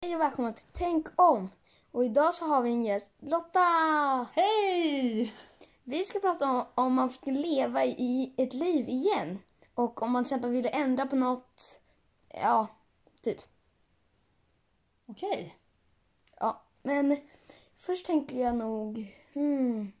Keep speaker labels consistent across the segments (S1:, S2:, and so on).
S1: Hej och välkomna till Tänk om! Och idag så har vi en gäst, Lotta!
S2: Hej!
S1: Vi ska prata om om man fick leva i ett liv igen. Och om man till exempel ville ändra på något, ja, typ.
S2: Okej.
S1: Ja, men först tänker jag nog, hmm.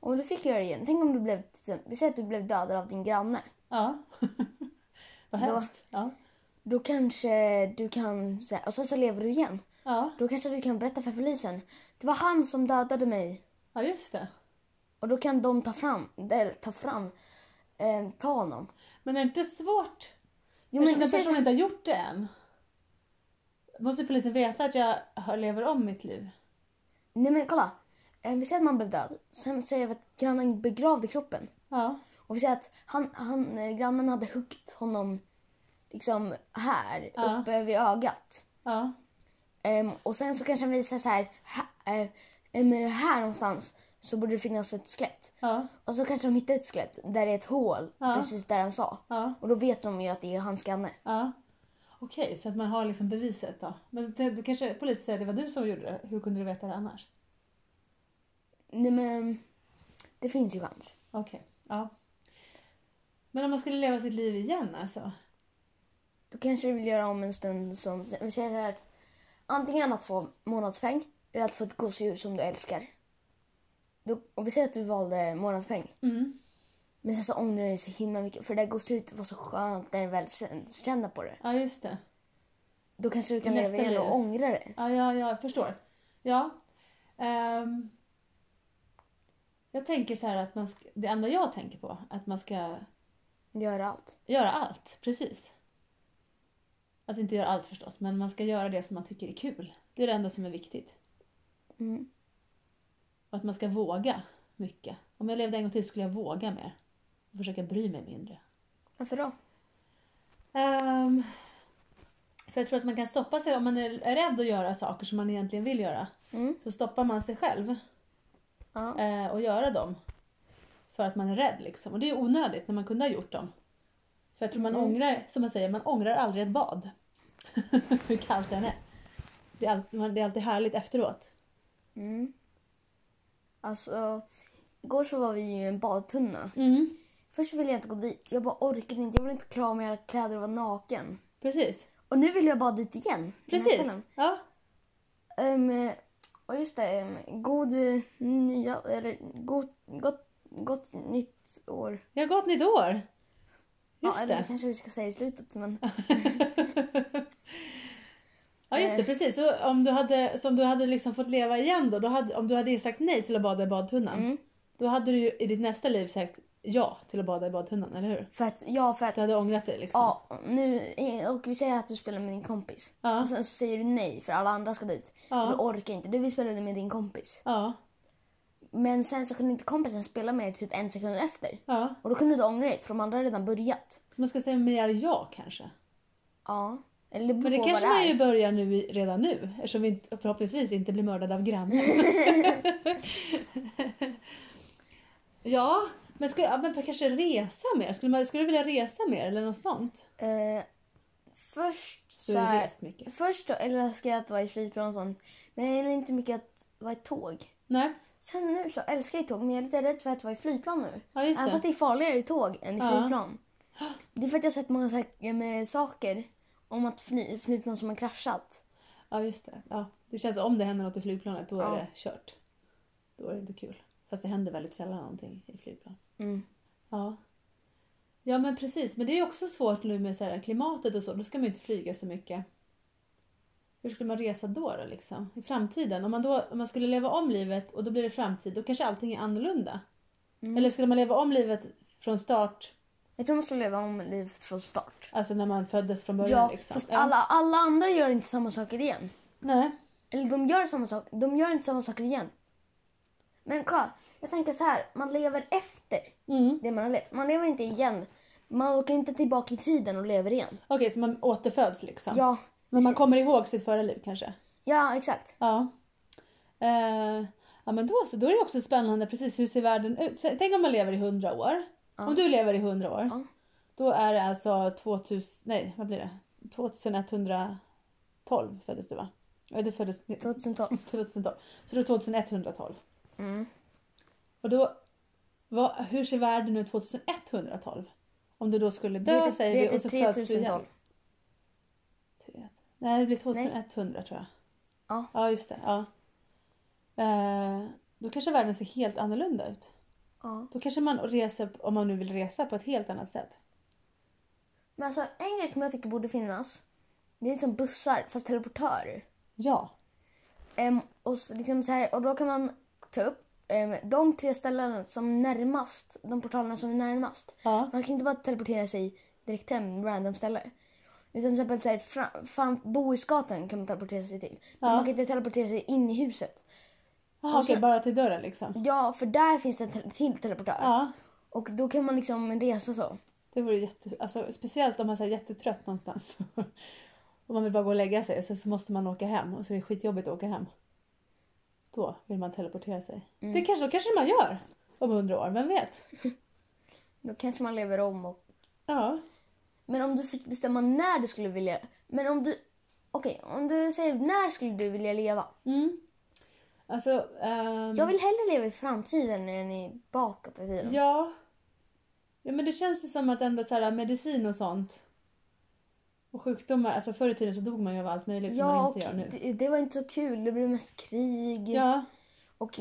S1: Om du fick göra det igen, tänk om du blev, till exempel- vi säger att du blev dödad av din granne.
S2: Ja. Vad
S1: Då-
S2: hemskt. Ja.
S1: Då kanske du kan, så här- och sen så lever du igen.
S2: Ja.
S1: Då kanske du kan berätta för polisen. Det var han som dödade mig.
S2: ja, just det.
S1: Och då kan de ta fram, eller ta fram, eh, ta honom.
S2: Men är det inte svårt?
S1: Jo
S2: Jo,
S1: men
S2: men när
S1: precis,
S2: personen inte har gjort det än. Måste polisen veta att jag har- lever om mitt liv?
S1: nej men kolla. Eh, vi säger att man blev död. Sen säger vi att grannen begravde kroppen.
S2: Ja.
S1: Och vi säger att han, han, eh, grannen hade huggit honom liksom här
S2: Ja.
S1: uppe vid ögat.
S2: Ja.
S1: Ehm, och sen så kanske han visar så här, ha, eh, em, här någonstans så borde det finnas ett skelett.
S2: Ja.
S1: Och så kanske de hittar ett skelett där det är ett hål
S2: Ja.
S1: precis där han sa.
S2: Ja.
S1: Och då vet de ju att det är hans granne.
S2: Ja. Okej, så att man har liksom beviset då. Men det, då kanske polisen säger att det var du som gjorde det. Hur kunde du veta det annars?
S1: Nej men, det finns ju chans.
S2: Okej. Ja. Men om man skulle leva sitt liv igen alltså?
S1: Då kanske du vill göra om en stund som, vi säger så här att antingen att få månadspeng eller att få ett gosedjur som du älskar. Då, och vi säger att du valde månadspeng.
S2: Mm.
S1: Men sen så ångrar du dig så himla mycket för det där gosedjuret var så skönt när du väl kän- kände på det.
S2: Ja, just det.
S1: Då kanske du kan
S2: Nästa
S1: leva igen och
S2: liv.
S1: ångra det.
S2: Ja, ja, ja, jag förstår. Ja. Ehm, jag tänker så här att man ska, det enda jag tänker på att man ska
S1: Göra allt.
S2: göra allt, precis. Alltså inte göra allt förstås, men man ska göra det som man tycker är kul. Det är det enda som är viktigt.
S1: Mm.
S2: Och att man ska våga mycket. Om jag levde en gång till skulle jag våga mer. Och försöka bry mig mindre.
S1: Varför då?
S2: Ehm, för jag tror att man kan stoppa sig om man är rädd att göra saker som man egentligen vill göra.
S1: Mm.
S2: Så stoppar man sig själv.
S1: Ja.
S2: eh, och göra dem. För att man är rädd liksom. Och det är onödigt när man kunde ha gjort dem. För jag tror man
S1: Mm.
S2: ångrar, som man säger, man ångrar aldrig ett bad. Hur kallt det än är. Det är, all, man- det är alltid härligt efteråt.
S1: Mm. Alltså, igår så var vi ju i en badtunna.
S2: Mm,
S1: Först ville jag inte gå dit. Jag bara orkade inte. Jag ville inte klä av mig alla kläder och vara naken.
S2: precis.
S1: Och nu vill jag bara dit igen. den här
S2: Precis.
S1: kvällen.
S2: Ja,
S1: Ehm, och just det, ehm, god eh, nya, eller god, gott, gott nytt år.
S2: jag har gått nytt år.
S1: ja,
S2: Just
S1: eller
S2: det.
S1: kanske vi ska säga i slutet. Men,
S2: Ja, just
S1: Eh.
S2: det. Precis. Så om du hade, som du hade liksom fått leva igen då, då hade, om du hade sagt nej till att bada i badtunnan,
S1: mm.
S2: då hade du ju i ditt nästa liv sagt ja till att bada i badtunnan, eller hur?
S1: För att, ja, för att,
S2: Du hade ångrat dig liksom.
S1: ja, nu, eh, och vi säger att du spelar med din kompis.
S2: Ja.
S1: Och sen så säger du nej för alla andra ska dit.
S2: Ja.
S1: Du orkar inte, du vill spela med din kompis.
S2: Ja.
S1: Men sen så kunde inte kompisen spela med dig typ en sekund efter.
S2: Ja.
S1: Och då kunde du ångra dig för de andra har redan börjat.
S2: Så man ska säga mer ja kanske.
S1: Ja. Eller det beror
S2: Men det
S1: på
S2: kanske
S1: vad det
S2: man
S1: är.
S2: ju börjar nu, i- redan nu eftersom vi inte, förhoppningsvis inte blir mördade av grannen. ja, men, ska, ja, men kanske resa mer? Skulle, man, skulle du vilja resa mer eller något sånt?
S1: Eh, först så
S2: Så du har
S1: här,
S2: rest mycket.
S1: Först då, eller ska jag att vara i flygplan och sånt. Men jag gillar inte mycket att vara i tåg.
S2: Nej,
S1: Sen nu så älskar jag tåg men jag är lite rädd för att vara i flygplan nu.
S2: ja just
S1: Även fast
S2: det.
S1: det är farligare i tåg än i
S2: Ja.
S1: flygplan. Det är för att jag har sett många så här, med saker om att fly, flygplan som har kraschat.
S2: Ja, just det. Ja, det känns som om det händer något i flygplanet då
S1: Ja.
S2: är det kört. Då är det inte kul. Fast det händer väldigt sällan någonting i flygplan.
S1: Mm.
S2: Ja. Ja men precis, men det är ju också svårt nu med så här klimatet och så, då ska man ju inte flyga så mycket. Hur skulle man resa då, då liksom? I framtiden? Om man, då, om man skulle leva om livet och då blir det framtid, då kanske allting är annorlunda.
S1: Mm.
S2: Eller skulle man leva om livet från start,
S1: Jag tror man ska leva om livet från start.
S2: alltså när man föddes från början?
S1: Ja,
S2: liksom.
S1: fast
S2: Ja.
S1: alla, alla andra gör inte samma saker igen.
S2: Nej.
S1: Eller de gör samma sak, de gör inte samma saker igen. Men kolla, jag tänker så här, man lever efter.
S2: Mm.
S1: det man har levt. Man lever inte igen. Man åker inte tillbaka i tiden och lever igen.
S2: Okej, så man återföds liksom?
S1: Ja,
S2: Men man kommer ihåg sitt förra liv kanske?
S1: ja exakt.
S2: Ja. Eh, ja men då så, då är det också spännande precis hur ser världen ut. Så, tänk om man lever i 100 år.
S1: Ja.
S2: Om du lever i 100 år.
S1: Ja.
S2: Då är det alltså 2000, nej vad blir det? 2112 2012 föddes du va? Ja, du föddes
S1: 2012.
S2: 2012. Så du är 2112.
S1: Mm.
S2: Och då, vad, hur ser världen ut 2112? Om du då skulle dö
S1: Det heter-
S2: säger
S1: det typ
S2: vi
S1: heter
S2: och så föds du
S1: 3000-tal.
S2: igen. Nej, det blir 2100 tror jag.
S1: Ja.
S2: Ja, just det. Ja. Eh, då kanske världen ser helt annorlunda ut.
S1: Ja.
S2: Då kanske man reser, om man nu vill resa, på ett helt annat sätt.
S1: Men alltså en grej som jag tycker borde finnas. Det är som bussar fast teleportörer.
S2: Ja.
S1: Ehm, och, s- liksom så här, och då kan man ta upp ehm, de tre ställena som närmast, de portalerna som är närmast.
S2: Ja.
S1: Man kan inte bara teleportera sig direkt hem, random ställe. Utan till exempel så här, fram, fram, Bohusgatan kan man teleportera sig till. Men
S2: Ja.
S1: man kan inte teleportera sig in i huset.
S2: Jaha,
S1: Och sen-
S2: okej, bara till dörren liksom.
S1: Ja, för där finns det en te- till teleportör.
S2: Ja.
S1: Och då kan man liksom resa så.
S2: Det vore jätte... Alltså, speciellt om man är så här jättetrött någonstans. och man vill bara gå och lägga sig så, så måste man åka hem och så är det skitjobbigt att åka hem. Då vill man teleportera sig. Det kanske, då kanske man gör om hundra år, vem vet?
S1: Då kanske man lever om och
S2: Ja.
S1: Men om du fick bestämma när du skulle vilja... Men om du... Okej, om du säger när skulle du vilja leva?
S2: Mm. Alltså, ehm,
S1: Jag vill hellre leva i framtiden än i bakåt i tiden.
S2: ja. Ja, men det känns ju som att ändå så här, medicin och sånt och sjukdomar, alltså förr i tiden så dog man ju av allt möjligt som
S1: Ja,
S2: man
S1: och
S2: inte gör nu.
S1: det, det var inte så kul. Det blev mest krig.
S2: Ja,
S1: Och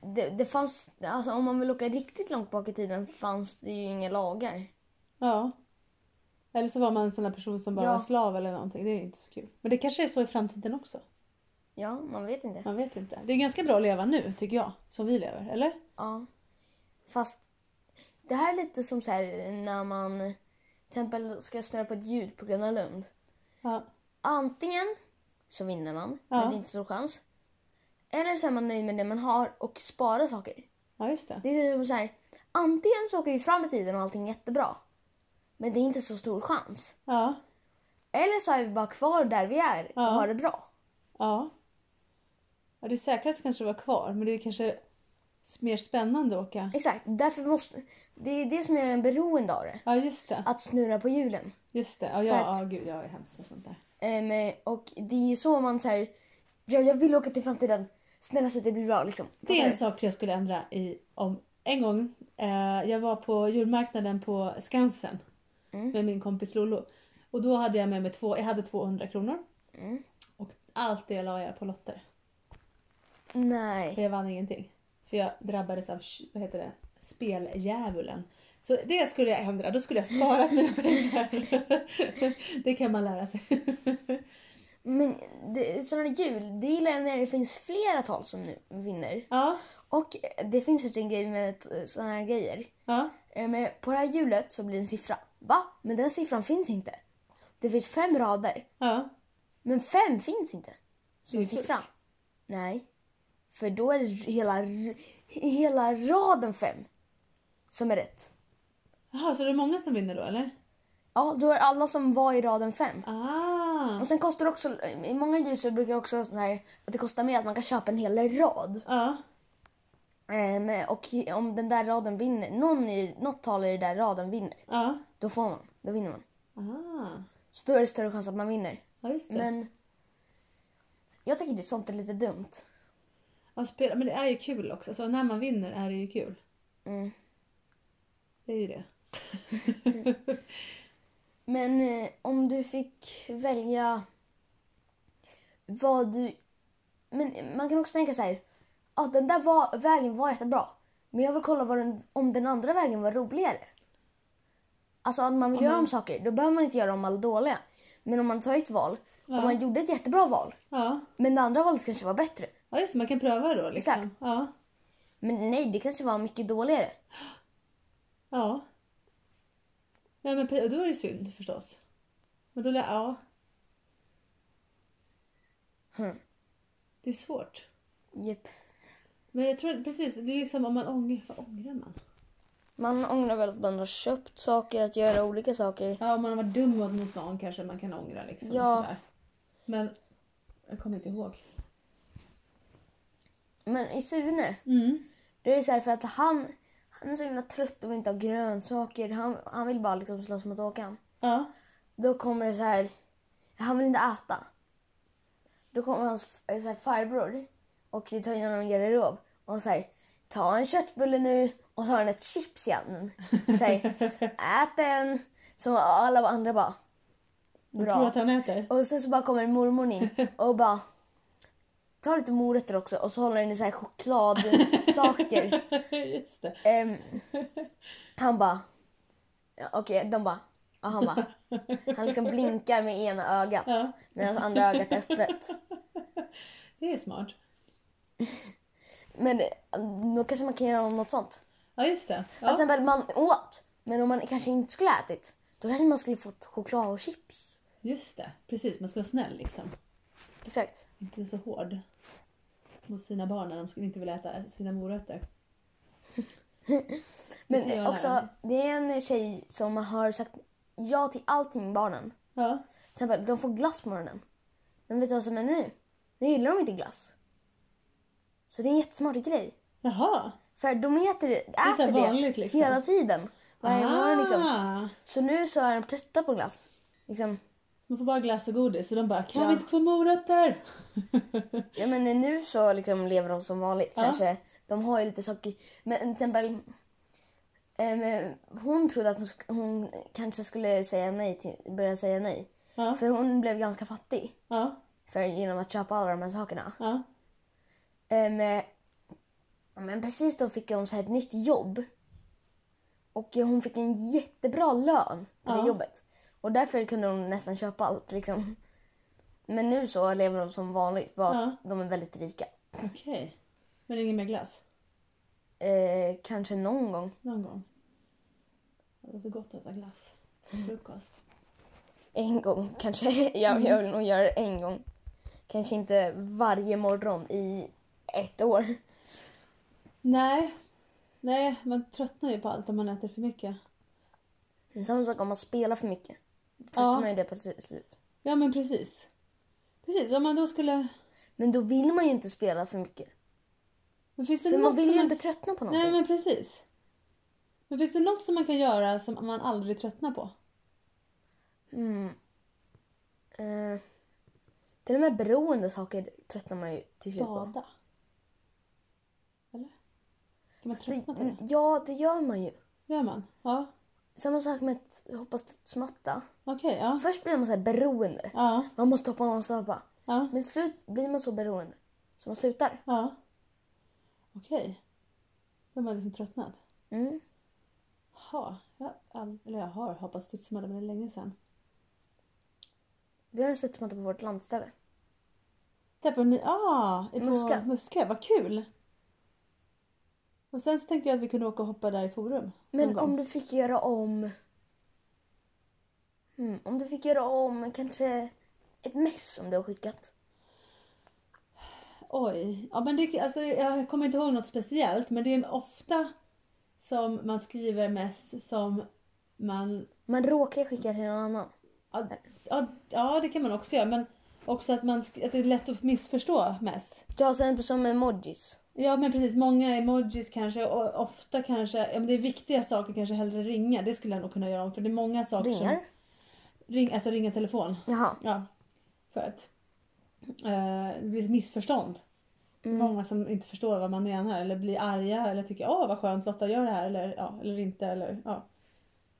S1: det, det fanns... Alltså om man vill åka riktigt långt bak i tiden fanns det ju inga lagar.
S2: Ja. Eller så var man en sån där person som bara
S1: Ja.
S2: var slav eller någonting. Det är inte så kul. Men det kanske är så i framtiden också.
S1: Ja, man vet inte.
S2: Man vet inte. Det är ganska bra att leva nu, tycker jag. Som vi lever, eller?
S1: Ja. Fast det här är lite som så här när man till exempel ska snurra på ett ljud på Gröna Lund.
S2: Ja.
S1: Antingen så vinner man, men
S2: Ja.
S1: det är inte stor chans. Eller så är man nöjd med det man har och sparar saker.
S2: Ja, just det.
S1: Det är som så här, antingen så åker vi fram i tiden och allting är jättebra. Men det är inte så stor chans.
S2: Ja.
S1: Eller så är vi bara kvar där vi är och
S2: Ja.
S1: har det bra.
S2: Ja. Ja, det säkraste kanske var kvar, men det är kanske s- mer spännande att åka.
S1: Exakt, därför måste... Det är det som gör en beroende av det.
S2: Ja, just det.
S1: Att snurra på hjulen.
S2: Just det. Ja,
S1: För
S2: ja,
S1: att-
S2: ja gud, jag är hemskt med sånt där.
S1: Ehm, och det är ju så man så här, ja, jag vill åka till framtiden. Snälla så att det blir bra liksom.
S2: Det är en
S1: Fattar
S2: sak jag skulle ändra i om en gång. Eh, jag var på julmarknaden på Skansen
S1: Mm.
S2: med min kompis Lollo. Och då hade jag med mig två, jag hade 200 kronor.
S1: du? Mm.
S2: Och allt det la jag på lotter.
S1: Nej.
S2: För jag vann ingenting. För jag drabbades av, sh- vad heter det, speldjävulen. Så det skulle jag ändra, då skulle jag sparat mina pengar. det kan man lära sig.
S1: Men det, sådana jul, det gillar jag när det finns flera tal som nu vinner.
S2: ja,
S1: Och det finns just en grej med sådana här grejer.
S2: ja,
S1: Eh, Men på det här hjulet så blir det en siffra. Va? Men den siffran finns inte. Det finns fem rader.
S2: ja.
S1: Men fem finns inte.
S2: Det
S1: Som
S2: är fusk.
S1: siffra. Nej. För då är det hela, hela raden fem som är rätt.
S2: Jaha, så det är många som vinner då eller?
S1: Ja, då är alla som var i raden fem.
S2: Ah,
S1: Och sen kostar det också, i många ljus så brukar det också vara sån här att det kostar mer att man kan köpa en hel rad.
S2: ja.
S1: Ehm, och om den där raden vinner, någon i, något tal i den där raden vinner,
S2: Ja.
S1: då får man. Då vinner man.
S2: Ah.
S1: Så då är det större chans att man vinner.
S2: Ja, just det.
S1: Men jag tycker det sånt är lite dumt.
S2: Ja, spela, men det är ju kul också. Alltså, när man vinner är det ju kul.
S1: Mm.
S2: Det är ju det.
S1: Men eh, om du fick välja vad du... Men man kan också tänka så här. Ja, den där va- vägen var jättebra. Men jag vill kolla vad den, om den andra vägen var roligare. Alltså att man vill
S2: Om
S1: göra
S2: man-
S1: om saker, då behöver man inte göra om alla dåliga. Men om man tar ett val,
S2: Ja.
S1: om man gjorde ett jättebra val,
S2: Ja,
S1: men det andra valet kanske var bättre.
S2: ja just det. Man kan pröva då liksom.
S1: Exakt.
S2: Ja.
S1: Men nej, det kanske var mycket dåligare.
S2: Ja. Nej, men pre- och då är det synd förstås. Men då lär... Ja.
S1: Hmm.
S2: Det är svårt.
S1: Japp.
S2: Men jag tror precis, det är liksom om man ångrar... Vad ångrar man?
S1: Man ångrar väl att man har köpt saker, att göra olika saker.
S2: Ja, om man har varit dum mot- mot någon kanske man kan ångra liksom.
S1: Ja.
S2: Sådär. Men jag kommer inte ihåg.
S1: Men i Sune,
S2: Mm.
S1: det är det så här för att han, han är så himla trött och vill inte ha grönsaker. Han, han vill bara liksom slåss mot Håkan.
S2: Ja.
S1: Då kommer det så här, han vill inte äta. Då kommer hans f- eh, så här, farbror och tar in honom i en garderob och så här, ta en köttbulle nu och så har han ett chips i handen. Så här, ät den! Så alla andra bara,
S2: Jag
S1: bra.
S2: tror att han äter.
S1: Och sen så bara kommer mormor in och bara tar lite morötter också och så håller den i så här chokladsaker.
S2: Just det.
S1: Ehm, han bara, ja, okej, de bara, ja, han bara, han liksom blinkar med ena ögat
S2: Ja.
S1: medan andra ögat är öppet.
S2: Det är smart.
S1: Men eh, då kanske man kan göra om något sånt.
S2: Ja, just det. Ja.
S1: Till exempel man åt, men om man kanske inte skulle ha ätit, då kanske man skulle fått choklad och chips.
S2: Just det. Precis, man ska vara snäll liksom.
S1: Exakt.
S2: Inte så hård mot sina barn när de ska- inte vill äta sina morötter. Det kan
S1: Men
S2: jag lära
S1: också,
S2: mig.
S1: det är en tjej som har sagt ja till allting barnen.
S2: Ja.
S1: Till exempel, de får glass på morgonen. Men vet du vad som händer nu? Nu gillar de inte glass. Så det är en jättesmart grej.
S2: Jaha.
S1: För de äter,
S2: här
S1: äter det
S2: vanligt, liksom.
S1: hela tiden. Varje morgon liksom.
S2: Ah.
S1: Så nu så är de trötta på glass. Liksom,
S2: Man får bara glass och godis och de bara kan
S1: Ja.
S2: vi inte få morötter?
S1: ja men nu så liksom lever de som vanligt
S2: Ja.
S1: kanske. De har ju lite socker. Men till exempel. ehm, hon trodde att hon, sk- hon kanske skulle säga nej till, börja säga nej.
S2: ja.
S1: För hon blev ganska fattig.
S2: Ja.
S1: För genom att köpa alla de här sakerna.
S2: Ja.
S1: Ehm, eh, men precis då fick hon så här ett nytt jobb. Och eh, hon fick en jättebra lön på
S2: Ja.
S1: det jobbet. Och därför kunde hon nästan köpa allt liksom. Men nu så lever de som vanligt, bara att de är väldigt rika.
S2: Okej. Men ingen mer glass?
S1: Eh, kanske någon gång.
S2: Någon gång? Det låter gott att äta glass. till Frukost.
S1: En gång kanske. Jag,
S2: Mm.
S1: jag vill nog göra det en gång. Kanske inte varje morgon i ett år.
S2: Nej. Nej, man tröttnar ju på allt om man äter för mycket.
S1: Men samma sak om man spelar för mycket. Då testar
S2: Ja.
S1: man ju det på till slut.
S2: Ja, men precis. Precis, om man då skulle...
S1: Men då vill man ju inte spela för mycket.
S2: Men finns det
S1: För man
S2: något
S1: vill
S2: som
S1: ju
S2: man...
S1: inte tröttna på någonting.
S2: Nej, men precis. Men finns det något som man kan göra som man aldrig tröttnar på?
S1: Mm. Eh, till och med beroende saker tröttnar man ju till slut på.
S2: Bada. Eller? Kan man
S1: Fast det- mm.
S2: tröttna på det?
S1: Ja, det gör man ju.
S2: Gör man? Ja.
S1: Samma sak med att hoppa studsmatta.
S2: Okej, ja.
S1: Först blir man så här beroende.
S2: Ja,
S1: Man måste hoppa, man måste hoppa.
S2: ja,
S1: Men till slut blir man så beroende så man slutar.
S2: ja. Okej. Då har man liksom tröttnat.
S1: Mm.
S2: Ha. Jag, all, eller jag har hoppat studsmatta, men det är länge sedan.
S1: Vi har en studsmatta på vårt landställe.
S2: Där på ny... Ah! är På
S1: Muska.
S2: Muska, vad kul! Och sen så tänkte jag att vi kunde åka och hoppa där i Forum. någon
S1: Men
S2: gång.
S1: om du fick göra om... Mm, om du fick göra om kanske ett mess som du har skickat.
S2: Oj. Ja, men det, alltså, jag kommer inte ihåg något speciellt, men det är ofta som man skriver mest som man...
S1: Man råkar skicka till någon annan.
S2: Ja, ja, ja det kan man också göra, men också att, man, sk- att det är lätt att missförstå mest.
S1: Ja, sen som emojis.
S2: Ja, men precis. Många emojis kanske och ofta kanske, om det är viktiga saker kanske hellre ringa. Det skulle jag nog kunna göra om, för det är många saker som...
S1: Ringar.
S2: Ring, alltså ringa telefon.
S1: Jaha.
S2: Ja, för att eh, det blir ett missförstånd.
S1: Mm.
S2: Många som inte förstår vad man menar eller blir arga eller tycker åh vad skönt Lotta gör det här eller, ja, eller inte. Eller, ja.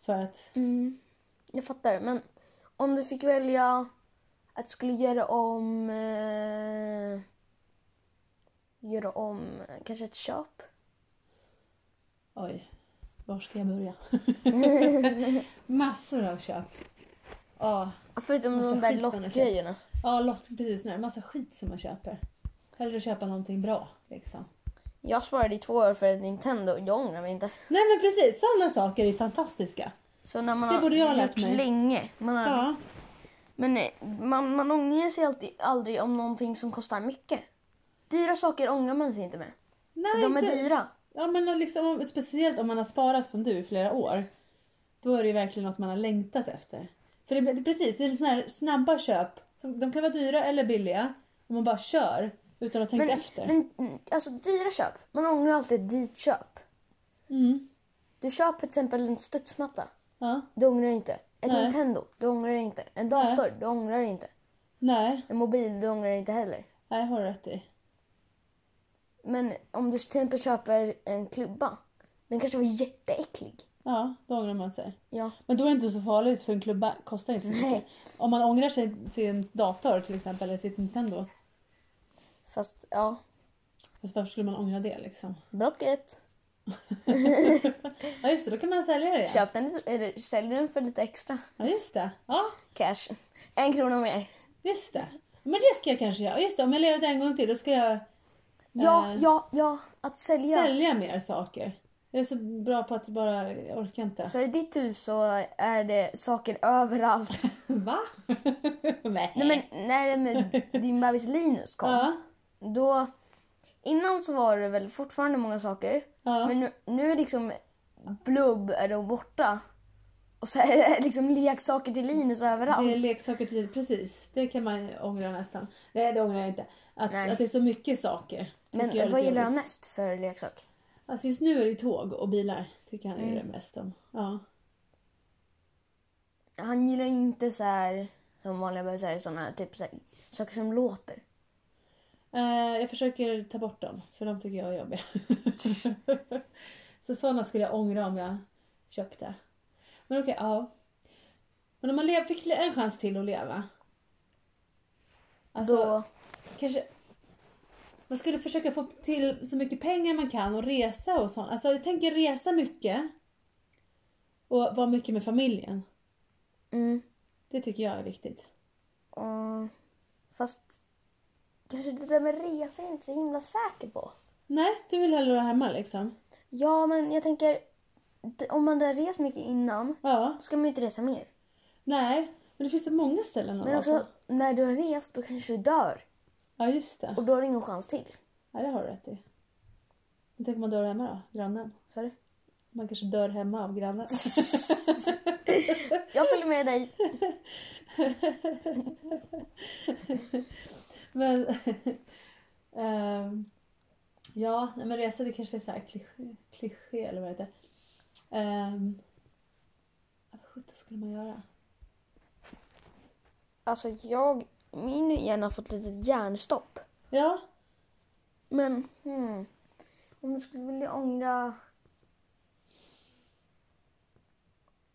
S2: För att,
S1: Mm. Jag fattar. Men om du fick välja att du skulle göra om... Eh, göra om eh, kanske ett köp?
S2: oj, var ska jag börja? Massor av köp. Ja,
S1: Ja, Förutom
S2: Massa
S1: de där
S2: Alltså, skit man har
S1: lottgrejerna.
S2: ja Lott, precis nu. Massa skit som man köper. Hellre köpa någonting bra liksom.
S1: Jag sparade i två år för ett Nintendo. Jag ångrar mig inte.
S2: Nej men precis, sådana saker är fantastiska.
S1: Så när man
S2: Det
S1: har
S2: borde jag ha lärt
S1: gjort
S2: mig.
S1: länge. Man har,
S2: Ja,
S1: Men eh, man, man ångrar sig alltid, aldrig om någonting som kostar mycket. Dyra saker ångrar man sig inte med.
S2: Nej,
S1: för de är
S2: inte-
S1: dyra.
S2: Ja men liksom, om- speciellt om man har sparat som du i flera år. Då är det ju verkligen något man har längtat efter. För det, blir- precis, det är såna här snabba köp. som- De kan vara dyra eller billiga. Om man bara kör utan att tänka
S1: Men,
S2: efter.
S1: men mm, alltså dyra köp. Man ångrar alltid ett dyrt köp.
S2: Mm,
S1: Du köper till exempel en studsmatta.
S2: ja.
S1: Du ångrar dig inte. Ett
S2: Nej.
S1: Nintendo. Du ångrar dig inte. En
S2: Nej.
S1: dator. Du ångrar dig inte.
S2: Nej,
S1: En mobil, du ångrar dig inte heller.
S2: nej, har du rätt i.
S1: Men om du till exempel köper en klubba. Den kanske var jätteäcklig.
S2: Ja, då ångrar man sig.
S1: Ja,
S2: Men då är det inte så farligt för en klubba kostar inte så mycket.
S1: Nej.
S2: Om man ångrar sig sin dator till exempel eller sitt Nintendo.
S1: fast ja.
S2: Alltså varför skulle man ångra det liksom?
S1: Blocket.
S2: Ja just det, då kan man sälja det igen.
S1: Köp den lite, eller sälj den för lite extra
S2: Ja just det. Ja,
S1: cash. En krona mer.
S2: just det. Men det ska jag kanske göra. Ja, Just det, om jag lever en gång till då ska jag
S1: Ja,
S2: Eh.
S1: ja, ja. Att sälja.
S2: sälja mer saker. Jag är så bra på att bara, jag orkar inte.
S1: För i ditt hus så är det saker överallt.
S2: Va? Nej.
S1: Nej men när det med din bebis Linus kom.
S2: Ja,
S1: Då, innan så var det väl fortfarande många saker.
S2: ja.
S1: Men nu, nu är liksom blubb är de borta. Och så är det liksom leksaker till Linus överallt.
S2: Det är leksaker till Precis, det kan man ångra nästan. Nej, det ångrar jag inte. Att,
S1: Nej.
S2: att det är så mycket saker. tycker jag är
S1: men
S2: lite
S1: vad gillar han
S2: jobbigt.
S1: mest för leksak?
S2: Alltså just nu är det tåg och bilar. Tycker han är
S1: Mm.
S2: det mest om. Ja.
S1: Han gillar inte så här som vanliga bebisar, sådana här, typ så här, saker som låter.
S2: Eh, jag försöker ta bort dem. För de tycker jag är jobbiga. så sådana skulle jag ångra om jag köpte. Men okej, ja. Men om man lev, fick en chans till att leva. Alltså,
S1: Då,
S2: kanske man skulle försöka få till så mycket pengar man kan och resa och sånt. Alltså jag tänker resa mycket och vara mycket med familjen.
S1: mm,
S2: Det tycker jag är viktigt.
S1: och, fast kanske det där med resa är jag inte så himla säker på.
S2: Nej, du vill hellre vara hemma liksom.
S1: Ja, men jag tänker d- om man har rest mycket innan
S2: Ja,
S1: då ska man ju inte resa mer.
S2: nej, men det finns så många ställen att
S1: Men
S2: vara
S1: också
S2: på.
S1: när du har rest då kanske du dör
S2: Ja, just det.
S1: och då har du ingen chans till.
S2: Ja, det har du rätt i. Men tänk om man dör hemma då, grannen.
S1: Så är det.
S2: Man kanske dör hemma av grannen.
S1: Jag följer med dig.
S2: Men... ehm, ja, nej, men resa det kanske är så här kliché, kliché eller vad det heter. Ehm, ja, vad sjutton skulle man göra?
S1: Alltså jag, min hjärna har fått lite hjärnstopp.
S2: Ja,
S1: Men hmm, om du skulle vilja ångra...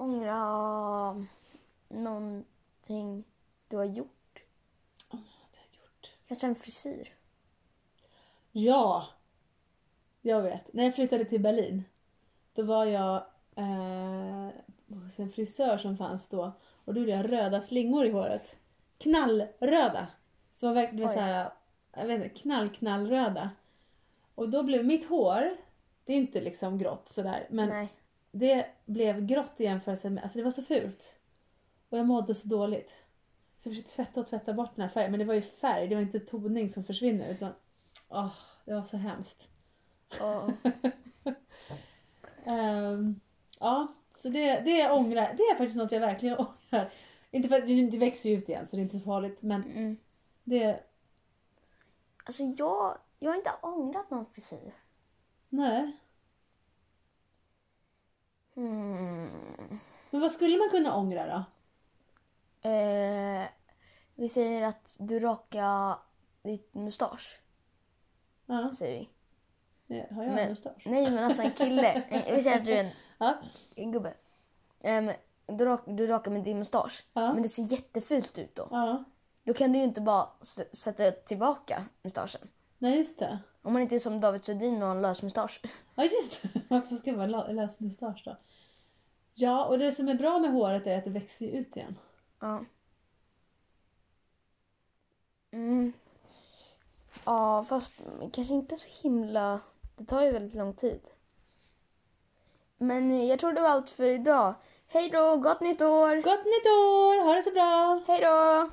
S1: Ångra någonting du har gjort.
S2: vad har jag gjort?
S1: Kanske en frisyr.
S2: Ja! Jag vet. När jag flyttade till Berlin, då var jag eh, hos en frisör som fanns då och då gjorde jag röda slingor i håret. Knallröda! Så var verkligen
S1: Oj.
S2: så här, jag vet inte, knall, knallröda. Och då blev mitt hår, det är ju inte liksom grått sådär, men
S1: Nej.
S2: det blev grått i jämförelse med, alltså det var så fult. Och jag mådde så dåligt. Så jag försökte tvätta och tvätta bort den här färgen, men det var ju färg, det var inte toning som försvinner utan, åh, det var så hemskt.
S1: Och,
S2: Ehm, ja, så det, det ångrar, det är faktiskt något jag verkligen ångrar. Inte för att det det växer ju ut igen så det är inte så farligt, men
S1: mm.
S2: det,
S1: Alltså jag, jag har inte ångrat någon frisyr.
S2: nej.
S1: Hmm.
S2: Men vad skulle man kunna ångra då?
S1: Eh, vi säger att du rakar ditt mustasch.
S2: Ja,
S1: Säger vi.
S2: har jag
S1: Men-
S2: en mustasch?
S1: Nej men alltså en kille. En- Vi säger att du är en
S2: Ja,
S1: En gubbe. Ehm, du, rak, du rakar med din mustasch.
S2: Ja.
S1: Men det ser jättefult ut då.
S2: ja,
S1: Då kan du ju inte bara s- sätta tillbaka mustaschen.
S2: nej just det.
S1: Om man inte är som David Sundin och har en lös mustasch.
S2: Ja just det, varför ska man ha lös mustasch då? Ja, och det som är bra med håret är att det växer ju ut igen.
S1: Ja. Mm. Ja, fast kanske inte så himla... Det tar ju väldigt lång tid. Men eh, jag tror det var allt för idag. Hej då, gott nytt år!
S2: Gott nytt år! Ha det så bra!
S1: Hej då!